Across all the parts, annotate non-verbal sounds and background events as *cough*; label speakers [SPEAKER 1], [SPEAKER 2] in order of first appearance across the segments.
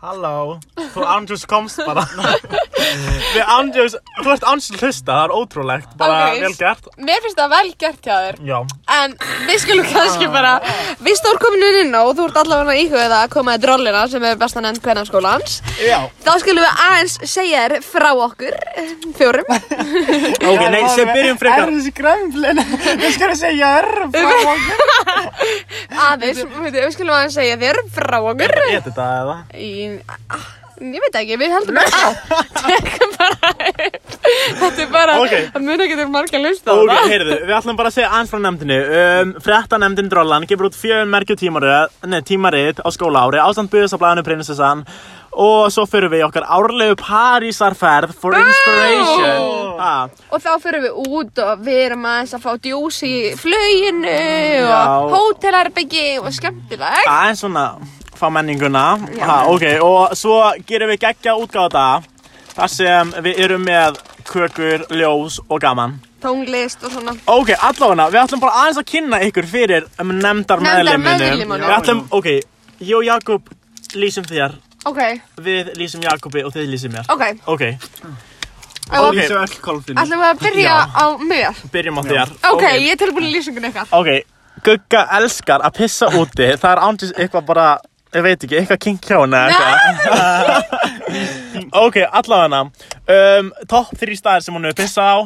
[SPEAKER 1] Halló, þú Andrews komst bara Við Andrews, þú ert Andrews að hlusta, það er ótrúlegt Bara
[SPEAKER 2] Ok.
[SPEAKER 1] vel gert
[SPEAKER 2] Mér finnst það vel gert hjá þér
[SPEAKER 1] Já,
[SPEAKER 2] En við skulum kannski bara Við stórkominu inn á og þú ert allavega að íhuga það að koma í drollina sem er bestan enn kvennaskólans
[SPEAKER 1] já
[SPEAKER 2] Þá skulum við aðeins segja þér frá okkur eh, fjórum
[SPEAKER 1] Ok, nei, sem byrjum frekar
[SPEAKER 3] Erðis *laughs* grömblin Ég skal segja erð
[SPEAKER 2] Aðeins, við við skulum aðeins segja þér frá okkur
[SPEAKER 1] Ég þetta eða
[SPEAKER 2] í, ah, Ég veit ekki, við heldum bara
[SPEAKER 1] *laughs*
[SPEAKER 2] að Tekum bara upp Þetta er bara,
[SPEAKER 1] Ok.
[SPEAKER 2] það mun ekki til margir hlusta á
[SPEAKER 1] Ok,
[SPEAKER 2] það
[SPEAKER 1] heyrðu, við ætlum bara að segja aðeins frá nefndinu um, Frettanemndin Drollan gefur út fjögur merkju tímarit, nei, tímarit á skóla ári Ástand byggðis á blæðinu Prinsessan Og svo fyrir við í okkar árlegu Parísarferð for inspiration ha,
[SPEAKER 2] Og þá fyrir við út og við erum aðeins að fá djús í flöginu og
[SPEAKER 1] Já.
[SPEAKER 2] hótelarbyggi og skemmtileg
[SPEAKER 1] Aðeins svona, fá menninguna ha, Ok, og svo gerum við geggja útgáta Þar sem við erum með kökur, ljós og gaman
[SPEAKER 2] Tónglist og svona
[SPEAKER 1] Ok, allavega, við ætlum bara aðeins að kynna ykkur fyrir um nefndar meðlimunum
[SPEAKER 2] meðlimunum.
[SPEAKER 1] Við ætlum, ok, ég og Jakob lýsum þér
[SPEAKER 2] Ok,
[SPEAKER 1] Við lýsum Jakobi og þið lýsum mér
[SPEAKER 2] ok
[SPEAKER 1] Ok,
[SPEAKER 2] Ætlum
[SPEAKER 1] Ok.
[SPEAKER 2] við
[SPEAKER 3] Lýsum öll kolfinu
[SPEAKER 2] ætlum við að byrja
[SPEAKER 1] Já.
[SPEAKER 2] á mér
[SPEAKER 1] byrjum á þér
[SPEAKER 2] Ok, ég er tilbúin í lýsingun ykkar
[SPEAKER 1] Ok, Gugga elskar að pissa úti Það er ándis eitthvað bara, ég veit ekki, eitthvað kink hjá henni eða eitthvað *laughs* Ok, allavega um, Topp þrý staðir sem hún hefur pissað á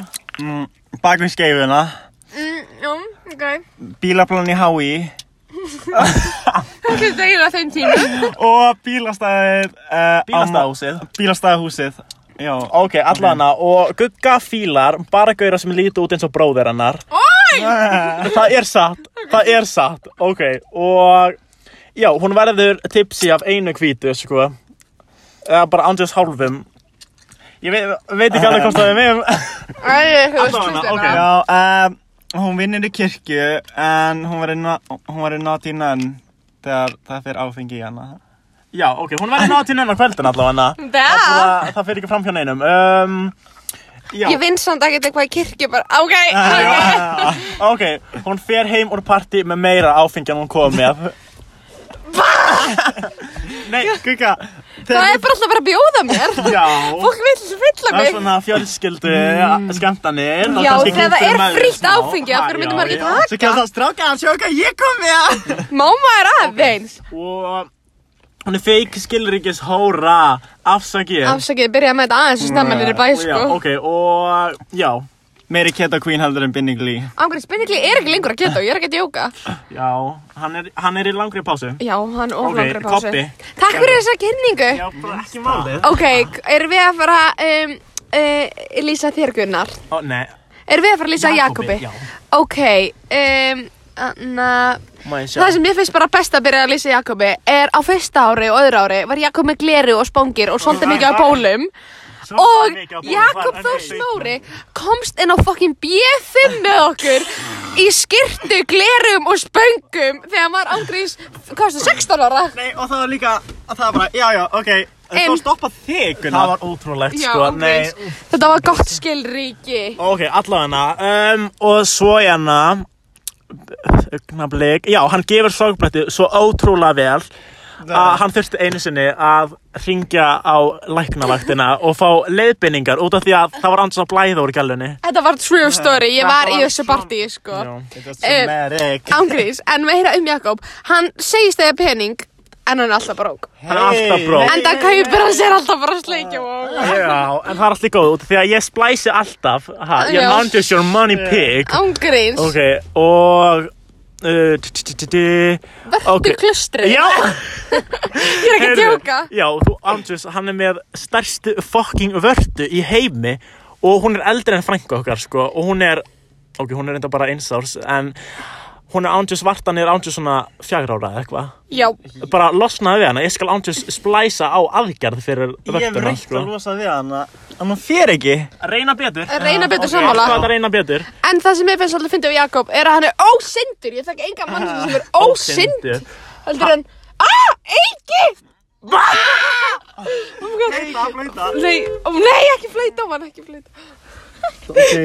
[SPEAKER 3] Bakvið skeifuna
[SPEAKER 2] mm, Jú, ok
[SPEAKER 3] Bílaplan í HÍ
[SPEAKER 2] Það getur eiginlega þeim tímum
[SPEAKER 3] Og bílastæðir uh,
[SPEAKER 1] Bílastæðahúsið
[SPEAKER 3] Bílastæðahúsið Já
[SPEAKER 1] Ok, allavega, og Gugga fílar bara gauðra sem líti út eins og bróðir hennar
[SPEAKER 2] Ói,
[SPEAKER 1] það er satt, það er satt ok, og já, hún verður tipsi af einu hvítu sko, eða bara andjast hálfum ég veit, veit ekki alveg hvort það er með
[SPEAKER 2] Það er eitthvað
[SPEAKER 1] Allavega,
[SPEAKER 2] stundina
[SPEAKER 1] ok.
[SPEAKER 2] okay.
[SPEAKER 3] Já, um, hún vinnur í kirkju En hún var í na- hún var í nátt í nönn Þegar það fyrir áfengi í hana
[SPEAKER 1] já, ok, hún verður náttúrulega nönn á kvöldin allavega hana
[SPEAKER 2] Það,
[SPEAKER 1] það, það fyrir ekki fram hjá neinum um,
[SPEAKER 2] *laughs*
[SPEAKER 1] já,
[SPEAKER 2] ég vinn samt ekkert eitthvað í kirkju bara Ok, ok
[SPEAKER 1] ok hún fer heim úr parti með meira áfengi en hún kom með nei, gugga
[SPEAKER 2] Það er bara alltaf bara að bjóða mér
[SPEAKER 1] já,
[SPEAKER 2] Fólk vill fylla
[SPEAKER 1] Það er
[SPEAKER 2] mig
[SPEAKER 1] svona fjölskyldu skemmtanir og
[SPEAKER 2] Já,
[SPEAKER 1] kannski
[SPEAKER 2] þegar það
[SPEAKER 1] knútur
[SPEAKER 2] er
[SPEAKER 1] maður
[SPEAKER 2] frítt
[SPEAKER 1] smá.
[SPEAKER 2] áfengi, af hverju
[SPEAKER 1] Já,
[SPEAKER 2] myndum maður ekki
[SPEAKER 1] já.
[SPEAKER 2] taka?
[SPEAKER 3] Svo kemur það stráka að sjóka ég kom við
[SPEAKER 1] *laughs*
[SPEAKER 3] að
[SPEAKER 2] Máma er aðeins
[SPEAKER 1] Og hún er feik skilríkis hóra Afsakið
[SPEAKER 2] Afsakið, byrjaði með þetta aðeins og stemma niður í bæ
[SPEAKER 1] Já,
[SPEAKER 2] sko
[SPEAKER 1] Ok, og já
[SPEAKER 3] Meiri Keta Queen heldur en Binning Lee
[SPEAKER 2] Ángurinn spinningli er ekki lengur að geta og ég er ekki að djóka
[SPEAKER 1] Já, hann er, hann er í langri pásu
[SPEAKER 2] Já, hann
[SPEAKER 1] Ok,
[SPEAKER 2] oflangur okay, pásu
[SPEAKER 1] Kobbi.
[SPEAKER 2] Takk fyrir þessa kynningu
[SPEAKER 1] Já, bara ekki málið
[SPEAKER 2] Ok, erum við að fara um, uh, Lýsa þér Gunnar
[SPEAKER 1] Ó, Nei,
[SPEAKER 2] Erum við að fara að lýsa Jakobi?
[SPEAKER 1] Jakobi, já.
[SPEAKER 2] Ok, um, anna,
[SPEAKER 1] má ég sjá
[SPEAKER 2] það sem mér finnst bara best að byrja að lýsa Jakobi er á fyrsta ári og öðru ári var Jakob með gleru og spóngir og svolítið mikið á bólum og Jakob Þór Snóri komst inn á fokkin B5 með okkur í skyrtu, glerum og spöngum þegar hann var ángriðis, hvað er það, 16 ára?
[SPEAKER 3] Nei, og það var líka að það var bara, já, já, ok
[SPEAKER 2] En-
[SPEAKER 3] Það var stoppað þig,
[SPEAKER 1] Það
[SPEAKER 3] Gunnar
[SPEAKER 1] var ótrúlegt
[SPEAKER 2] Já,
[SPEAKER 1] sko Nei,
[SPEAKER 2] ángriðis. Þetta var gott skilríki.
[SPEAKER 1] Ok, allavega um, Og svo hérna Augnablik Já, hann gefur sorgblætti svo ótrúlega vel að Ah, hann þurfti einu sinni að ringja á læknavaktina og fá leiðbynningar út af því að það var andins að blæða úr gælunni
[SPEAKER 2] Þetta var true story, ég var í
[SPEAKER 3] var
[SPEAKER 2] þessu partíi, sko.
[SPEAKER 3] It was
[SPEAKER 2] Eh,
[SPEAKER 3] traumatic
[SPEAKER 2] Ángriðis, en meira um Jakob, hann segist þegar pening, en hann er alltaf brók.
[SPEAKER 1] Hann er alltaf brók
[SPEAKER 2] En það kaupir hann sér alltaf bara sleikjum og...
[SPEAKER 1] Já, en það er alltaf góð út af því að ég splæsi alltaf ha, Ég
[SPEAKER 2] Já.
[SPEAKER 1] mandis your money pig
[SPEAKER 2] Ángriðis,
[SPEAKER 1] Ok, og uh, t- t- t- t-
[SPEAKER 2] verður
[SPEAKER 1] ok.
[SPEAKER 2] okay. klustrið,
[SPEAKER 1] Já
[SPEAKER 2] ég er ekki að
[SPEAKER 1] Heyrðu,
[SPEAKER 2] djóka.
[SPEAKER 1] Já, þú Andrews, hann er með stærstu fucking vörtu í heimi og hún er eldri en frænka okkar, sko og hún er, ok, hún er enda bara einsárs en hún er Andrews vartan er Andrews svona fjagra ára eða eitthvað
[SPEAKER 2] Já,
[SPEAKER 1] bara losnaði við hana, ég skal Andrews splæsa á aðgerð fyrir
[SPEAKER 3] Ég hef
[SPEAKER 1] vörtuna,
[SPEAKER 3] reynt
[SPEAKER 1] sko
[SPEAKER 3] að losa við hana En hún fer ekki
[SPEAKER 1] Reyna betur
[SPEAKER 2] reyna betur
[SPEAKER 1] Ok,
[SPEAKER 2] sammála.
[SPEAKER 1] alltaf að reyna betur
[SPEAKER 2] En það sem ég finnst alltaf fyndið á Jakob er að hann er ósyndur. Ég þekk enga mann sem
[SPEAKER 1] Ah,
[SPEAKER 2] er ósynd.
[SPEAKER 1] Ósyndur.
[SPEAKER 2] Heldur en, aaa, eiki!
[SPEAKER 3] Blöyta, blöyta
[SPEAKER 2] Nei, ó, nei, ekki fleita á hann, ekki fleita.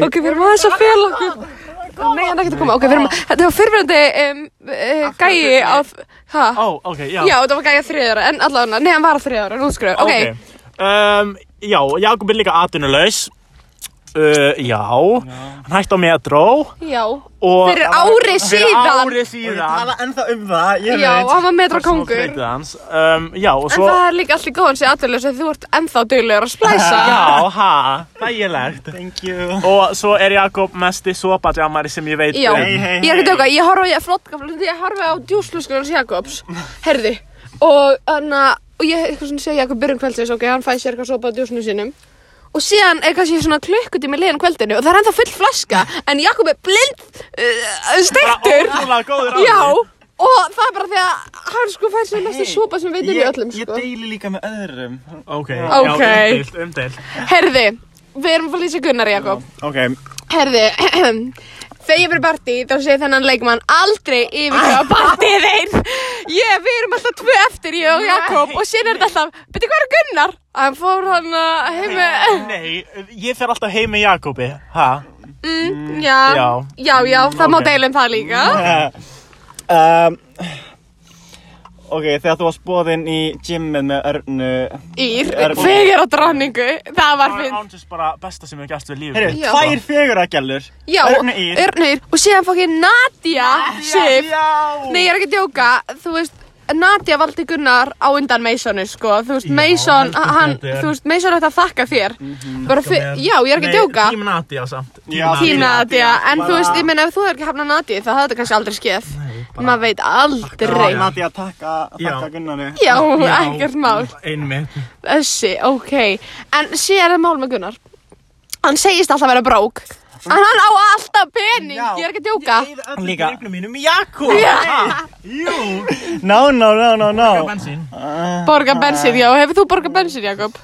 [SPEAKER 2] Ok, við erum aðeins að fela okkur. Nei, hann er ekkert að koma. Ok, við erum að... Þetta var fyrfirandi um, uh, gæi á... Hæ?
[SPEAKER 1] Ó, ok, já.
[SPEAKER 2] Já, þetta var gæi á þriðara, en allavega, nei, hann var á þriðara, nú skröðu. Ok,
[SPEAKER 1] Um, já, Jakob er líka atvinnulegs. Uh, já, hann hætti á metró.
[SPEAKER 2] já.
[SPEAKER 1] og-
[SPEAKER 2] Fyrir ári
[SPEAKER 1] Fyrir
[SPEAKER 2] síðan.
[SPEAKER 1] ári
[SPEAKER 3] Ég
[SPEAKER 1] síðan.
[SPEAKER 3] tala ennþá um það, ég
[SPEAKER 2] Já,
[SPEAKER 3] veit.
[SPEAKER 2] hann var metra kongur.
[SPEAKER 1] Persónufreitið hans. Um, já, og
[SPEAKER 2] En
[SPEAKER 1] svo...
[SPEAKER 2] það er líka allir góðan sér aðtölu sem þú ert ennþá duglegur að splæsa.
[SPEAKER 1] Já, ha, þægilegt.
[SPEAKER 3] Thank you.
[SPEAKER 1] Og svo er Jakob mesti sopajammari sem ég veit
[SPEAKER 2] Já,
[SPEAKER 1] um.
[SPEAKER 3] Hey, hey,
[SPEAKER 2] ég er
[SPEAKER 3] hey.
[SPEAKER 2] ekki tóka, ég horfa ég flott, ég horfa á djúsluskunars Jakobs, herði, og þannig að, og ég eitthvað svona sé Jakob byrjum kvöldsins, ok, hann fæði sér eitthvað sopa á djúsnu sínum, og síðan er kannski svona klukkutími liðan á kvöldinu, og það er ennþá full flaska, en Jakob er blind, uh, steiktur,
[SPEAKER 1] Ótrúlega góður á
[SPEAKER 2] já, og það er bara því að hann sko fæði sér mestu
[SPEAKER 3] Hey,
[SPEAKER 2] sopa sem við veitum
[SPEAKER 3] Ég-
[SPEAKER 2] við öllum,
[SPEAKER 3] Ég
[SPEAKER 2] sko.
[SPEAKER 3] deili líka með öðrum.
[SPEAKER 1] Ok,
[SPEAKER 2] Ok.
[SPEAKER 1] já, umdeilt, umdeilt.
[SPEAKER 2] Herði, við erum að lýsa Gunnar Jakob.
[SPEAKER 3] Ok,
[SPEAKER 2] Herði, *clears throat* þegar ég verið partí þá sé þennan leikmann aldrei yfirgefa partíð þeir Ég, við erum alltaf tvö eftir, ég og Jakob og síðan er þetta alltaf, beti hvað er Gunnar? Hann fór hann að heim með
[SPEAKER 1] Nei, ég fer alltaf heim með Jakobi, ha?
[SPEAKER 2] mm, já, já,
[SPEAKER 1] Já.
[SPEAKER 2] já, það má
[SPEAKER 1] Ok.
[SPEAKER 2] deila um það líka
[SPEAKER 3] um, Ok, þegar þú varst boðinn í gymmið með Örnu
[SPEAKER 2] Ír,
[SPEAKER 3] Er-
[SPEAKER 2] fegur á dronningu Það var
[SPEAKER 1] Það er
[SPEAKER 2] finn
[SPEAKER 1] ándis bara besta sem ég hef gert við lífið.
[SPEAKER 3] Heyrðu,
[SPEAKER 2] Já.
[SPEAKER 3] tvær feguragjallur
[SPEAKER 2] Já,
[SPEAKER 3] Örnu Ír
[SPEAKER 2] Örnir og síðan fokkin Nadia Sif
[SPEAKER 3] Já
[SPEAKER 2] Nei, ég er ekki að djóka, þú veist Nadia valdi Gunnar á undan Masonu, sko Þú veist,
[SPEAKER 1] Já,
[SPEAKER 2] Mason,
[SPEAKER 1] heldur
[SPEAKER 2] hann,
[SPEAKER 1] betur.
[SPEAKER 2] þú veist, Mason ætti að þakka þér Bara fyrir, já, ég er ekki að djóka
[SPEAKER 1] Tím Nadia samt.
[SPEAKER 3] Já,
[SPEAKER 2] Tím
[SPEAKER 3] Team
[SPEAKER 2] Nadia,
[SPEAKER 3] Nadia,
[SPEAKER 2] en
[SPEAKER 3] bara-
[SPEAKER 2] þú veist, ég meina ef þú er ekki hafnað Nadia þá hafði þetta kannski aldrei skeð Maður veit aldrei
[SPEAKER 1] Nadia.
[SPEAKER 3] Nadia, takka,
[SPEAKER 1] Já.
[SPEAKER 3] takka Gunnari
[SPEAKER 2] Já, ekkert mál
[SPEAKER 1] Einmitt.
[SPEAKER 2] Þessi, ok En síðan er mál með Gunnar Hann segist alltaf vera brók En hann á alltaf pening,
[SPEAKER 3] Já.
[SPEAKER 2] ég er ekki að djóka
[SPEAKER 3] Líka.
[SPEAKER 1] Líka. Líka mínum í Jakob. Ha? Jú.
[SPEAKER 3] No, no, no, no, no
[SPEAKER 1] Bensín.
[SPEAKER 3] Eh,
[SPEAKER 2] Borga bensin, já, hefur þú borga bensin, Jakob?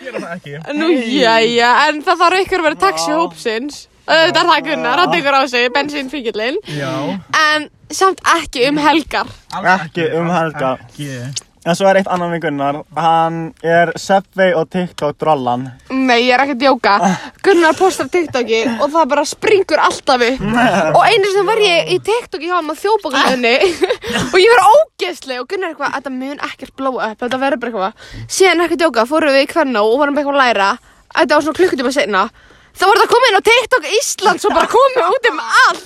[SPEAKER 1] Gera það ekki.
[SPEAKER 2] Nú, jæja, en það þarf ykkur að vera taxi hópsins. Þetta er það Gunnar, hann tekur á sig bensínfíkillinn.
[SPEAKER 1] Já.
[SPEAKER 2] En samt ekki um helgar.
[SPEAKER 3] Ekki um helga
[SPEAKER 1] Ekki.
[SPEAKER 3] En svo er eitt annan við Gunnar Hann er Subway og TikTok drollan
[SPEAKER 2] Nei, ég er ekki að djóka. Gunnar postar TikToki og það bara springur alltaf upp. Og einu sem var ég í TikToki hjá hann á þjóðbókunni *laughs* og ég verið ógeðsleg og Gunnar eitthvað, þetta mun ekkert blow up, þetta verður bara eitthvað. Síðan er ekki að djóka, fórum við í Kvennó og vorum eitthvað að læra. Þetta var svona klukkutíma senna. Það voru það komið inn á TikTok Íslands og bara komið út um allt.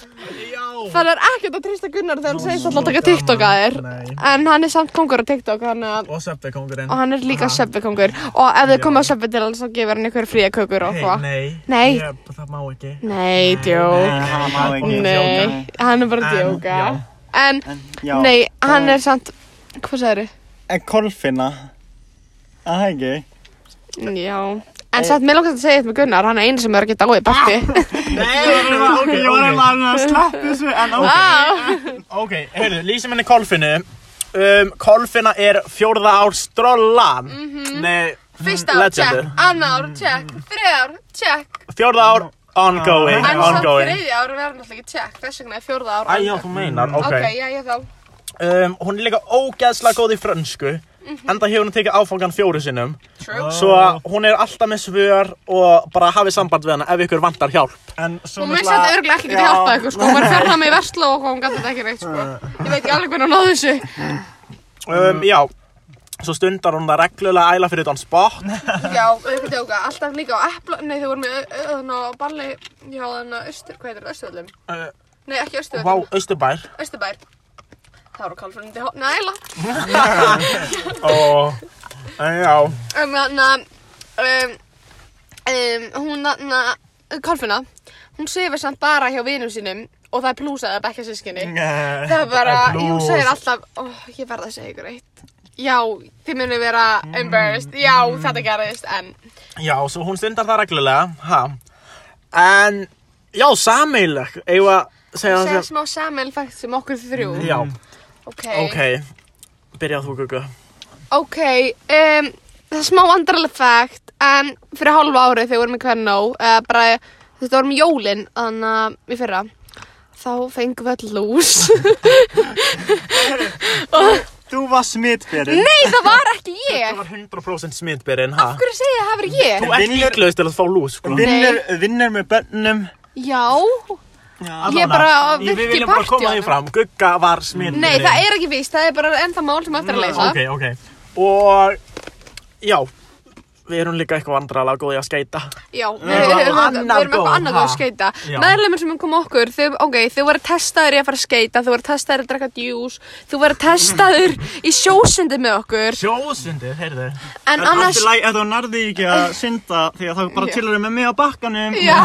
[SPEAKER 1] Já.
[SPEAKER 2] Það er ekkert að trista Gunnar þegar hann segist alltaf að taka TikTok að þér
[SPEAKER 1] Nei.
[SPEAKER 2] En hann er samt kongur á TikTok hann að,
[SPEAKER 1] Og Seppi kongurinn.
[SPEAKER 2] og hann er líka söpvi kongur Og ef þau komið á söpvi til hans þá gefur hann ykkur fría kökur og
[SPEAKER 1] Hey,
[SPEAKER 2] hvað
[SPEAKER 1] nei.
[SPEAKER 2] Nei.
[SPEAKER 1] Ég, það má ekki.
[SPEAKER 2] Nei, djók
[SPEAKER 3] Nei, hann má ekki
[SPEAKER 2] Nei, hann er bara að
[SPEAKER 1] En,
[SPEAKER 2] djóka
[SPEAKER 1] já.
[SPEAKER 2] En,
[SPEAKER 3] Já.
[SPEAKER 2] nei, hann
[SPEAKER 3] það-
[SPEAKER 2] er samt Hvað sagði
[SPEAKER 3] En Kolfinna Það er ekki
[SPEAKER 2] Já En samt, mér lókast að segja þetta með Gunnar, hann er einu sem er ekki dáið bætti.
[SPEAKER 1] Nei.
[SPEAKER 2] *laughs*
[SPEAKER 3] Ok, ég var eiginlega að slepp þessu En ok
[SPEAKER 1] hérna.
[SPEAKER 2] Ah!
[SPEAKER 1] Ah. Ok, heyrðu, lýsum henni Kolfinu um, Kolfina er fjórða ár strollan
[SPEAKER 2] Mhm.
[SPEAKER 1] Nei,
[SPEAKER 2] Fyrsta ár,
[SPEAKER 1] legendu.
[SPEAKER 2] check, annar ár, check, þrið ár, check,
[SPEAKER 1] Fjórða ár, ongoing,
[SPEAKER 2] Ah. en samt
[SPEAKER 1] ongoing
[SPEAKER 2] þriðja ár verður náttúrulega ekki check, þess vegna er fjórða ár.
[SPEAKER 1] Æ, já,
[SPEAKER 2] ongoing.
[SPEAKER 1] þú meinar, ok,
[SPEAKER 2] Ok, já, ég þá.
[SPEAKER 1] Um, Hún er líka ógeðslega góð í frönsku
[SPEAKER 2] Mhm.
[SPEAKER 1] Enda hefur hún tekið áfangan fjóru sinnum
[SPEAKER 2] True.
[SPEAKER 1] Svo hún er alltaf með svör og bara hafið samband við hana ef ykkur vantar hjálp
[SPEAKER 3] En svo
[SPEAKER 2] Hún missi þetta örgulega ekki að hjálpa ykkur, sko. Hún var fjarn að mig í verslu og hún gæti þetta ekki reitt, sko. Ég veit ekki alveg hvernig hún náði þessu.
[SPEAKER 1] um, Já, svo stundar hún það reglulega að æla fyrir þann spott
[SPEAKER 2] Já, auðvitað djóka. Alltaf líka á epla... Nei, þau voru með öðun á balli hjá þann að austur... Hvað heitir það? Östurvöllum?
[SPEAKER 1] uh,
[SPEAKER 2] Nei, ekki
[SPEAKER 1] Vá,
[SPEAKER 2] Östurvöllum.
[SPEAKER 1] Östurbær
[SPEAKER 2] Östurbær. Það voru kalfundi hótt... Nei, æla.
[SPEAKER 1] Ó, en Eh, já
[SPEAKER 2] Um, þannig að... Um, um, hún, þannig að... Kalfuna. Hún sefur samt bara hjá vinum sínum og það er plúsað að bekka
[SPEAKER 1] Eh,
[SPEAKER 2] sískinni. Það er bara, jú, segir alltaf, ó, ég verða að segja ykkur eitt. Já, þið munu vera
[SPEAKER 1] Mm.
[SPEAKER 2] embarrassed, já, þetta gerðist, en...
[SPEAKER 1] Já, svo hún stundar það reglulega ha. En, já, sameileg Eigum við að segja
[SPEAKER 2] Segja
[SPEAKER 1] það sem
[SPEAKER 2] smá samil fakt sem okkur þrjú.
[SPEAKER 1] Já,
[SPEAKER 2] Ok.
[SPEAKER 1] ok Byrjað þú, Gugu
[SPEAKER 2] Ok, um, það er smá andralegt fakt, en fyrir hálfa árið þegar við vorum í Kvennó, uh, bara, þetta vorum í jólin, þannig að í fyrra,
[SPEAKER 1] *laughs*
[SPEAKER 2] þá fengum við öll lús.
[SPEAKER 1] Þú
[SPEAKER 3] var smitberinn.
[SPEAKER 2] Nei, það var ekki
[SPEAKER 1] Það
[SPEAKER 2] ég.
[SPEAKER 1] var 100% smitbyrinn, ha?
[SPEAKER 2] Af hverju segja ég að það hafi verið ég?
[SPEAKER 1] Þú ert
[SPEAKER 3] Vinnur-
[SPEAKER 1] líklaust til að fá lús, sko.
[SPEAKER 3] Vinnur, vinnur með börnum.
[SPEAKER 2] Já.
[SPEAKER 3] Já.
[SPEAKER 2] Ég bara
[SPEAKER 1] Ég-
[SPEAKER 2] virki
[SPEAKER 1] Við viljum bara koma því
[SPEAKER 2] partíunum.
[SPEAKER 1] fram. Gugga var smitbyrinn.
[SPEAKER 2] Nei, það er ekki víst. Það er bara ennþá mál sem á eftir að leysa.
[SPEAKER 1] Ok, ok. Og, já, við erum líka eitthvað vandralega góði að skeita.
[SPEAKER 2] Já, við
[SPEAKER 1] Við erum
[SPEAKER 2] við erum
[SPEAKER 1] annað
[SPEAKER 2] við erum eitthvað
[SPEAKER 1] góð,
[SPEAKER 2] annað góð að
[SPEAKER 1] ha?
[SPEAKER 2] skeita.
[SPEAKER 1] Já.
[SPEAKER 2] Meðlumir sem kom okkur, þau, ok, þau voru testaður í að fara að skeita, þau voru testaður að drakka djús, þau voru testaður í sjósundi með okkur,
[SPEAKER 1] Sjósundið, heyrðu.
[SPEAKER 2] en
[SPEAKER 3] En
[SPEAKER 2] annars...
[SPEAKER 3] allt í lagi ef þú nærði ekki að synda því að þá bara
[SPEAKER 2] Já.
[SPEAKER 3] chillar með mig á bakkanum
[SPEAKER 2] *laughs* Já,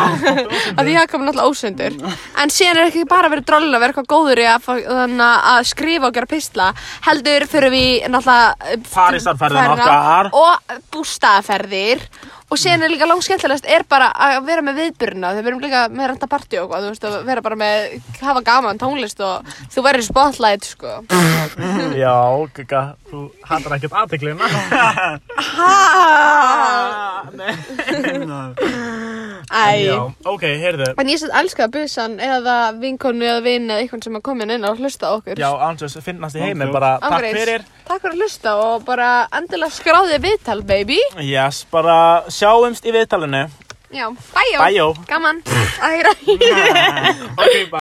[SPEAKER 2] að því Jakob er náttúrulega *laughs* ósundur En síðan er ekki bara verið droll að vera eitthvað góður í að, fá- þannig að skrifa og gera pistla Heldur fyrir við náttúrulega eh,
[SPEAKER 1] Parísarferðina
[SPEAKER 2] ferðina
[SPEAKER 1] okkar.
[SPEAKER 2] Og bústaðaferðir Og síðan er líka langt skemmtilegast er bara að vera með viðbyrna Þegar við erum líka með renta partí og hvað, þú veist, að vera bara með, hafa gaman tónlist og þú verður í spotlight, sko
[SPEAKER 1] Já, Gugga, þú hattar ekkert aðteglina. Já,
[SPEAKER 2] *laughs* Æ
[SPEAKER 1] ok, heyrðu.
[SPEAKER 2] En ég sett elska busan eða vinkonu eða vin eða eitthvað sem að koma inn og hlusta á okkur
[SPEAKER 1] Já, Ánsjós, finnast í heimi
[SPEAKER 3] Ángþór.
[SPEAKER 1] bara. Takk
[SPEAKER 2] Ángreis,
[SPEAKER 1] fyrir.
[SPEAKER 2] Takk fyrir að hlusta og bara endilega skráðið viðtal, baby.
[SPEAKER 1] Yes, bara sjáumst í viðtalinu.
[SPEAKER 2] Já, bæjó.
[SPEAKER 1] Bæjó. *laughs*
[SPEAKER 2] Gaman. Æra.
[SPEAKER 1] Ok, bye.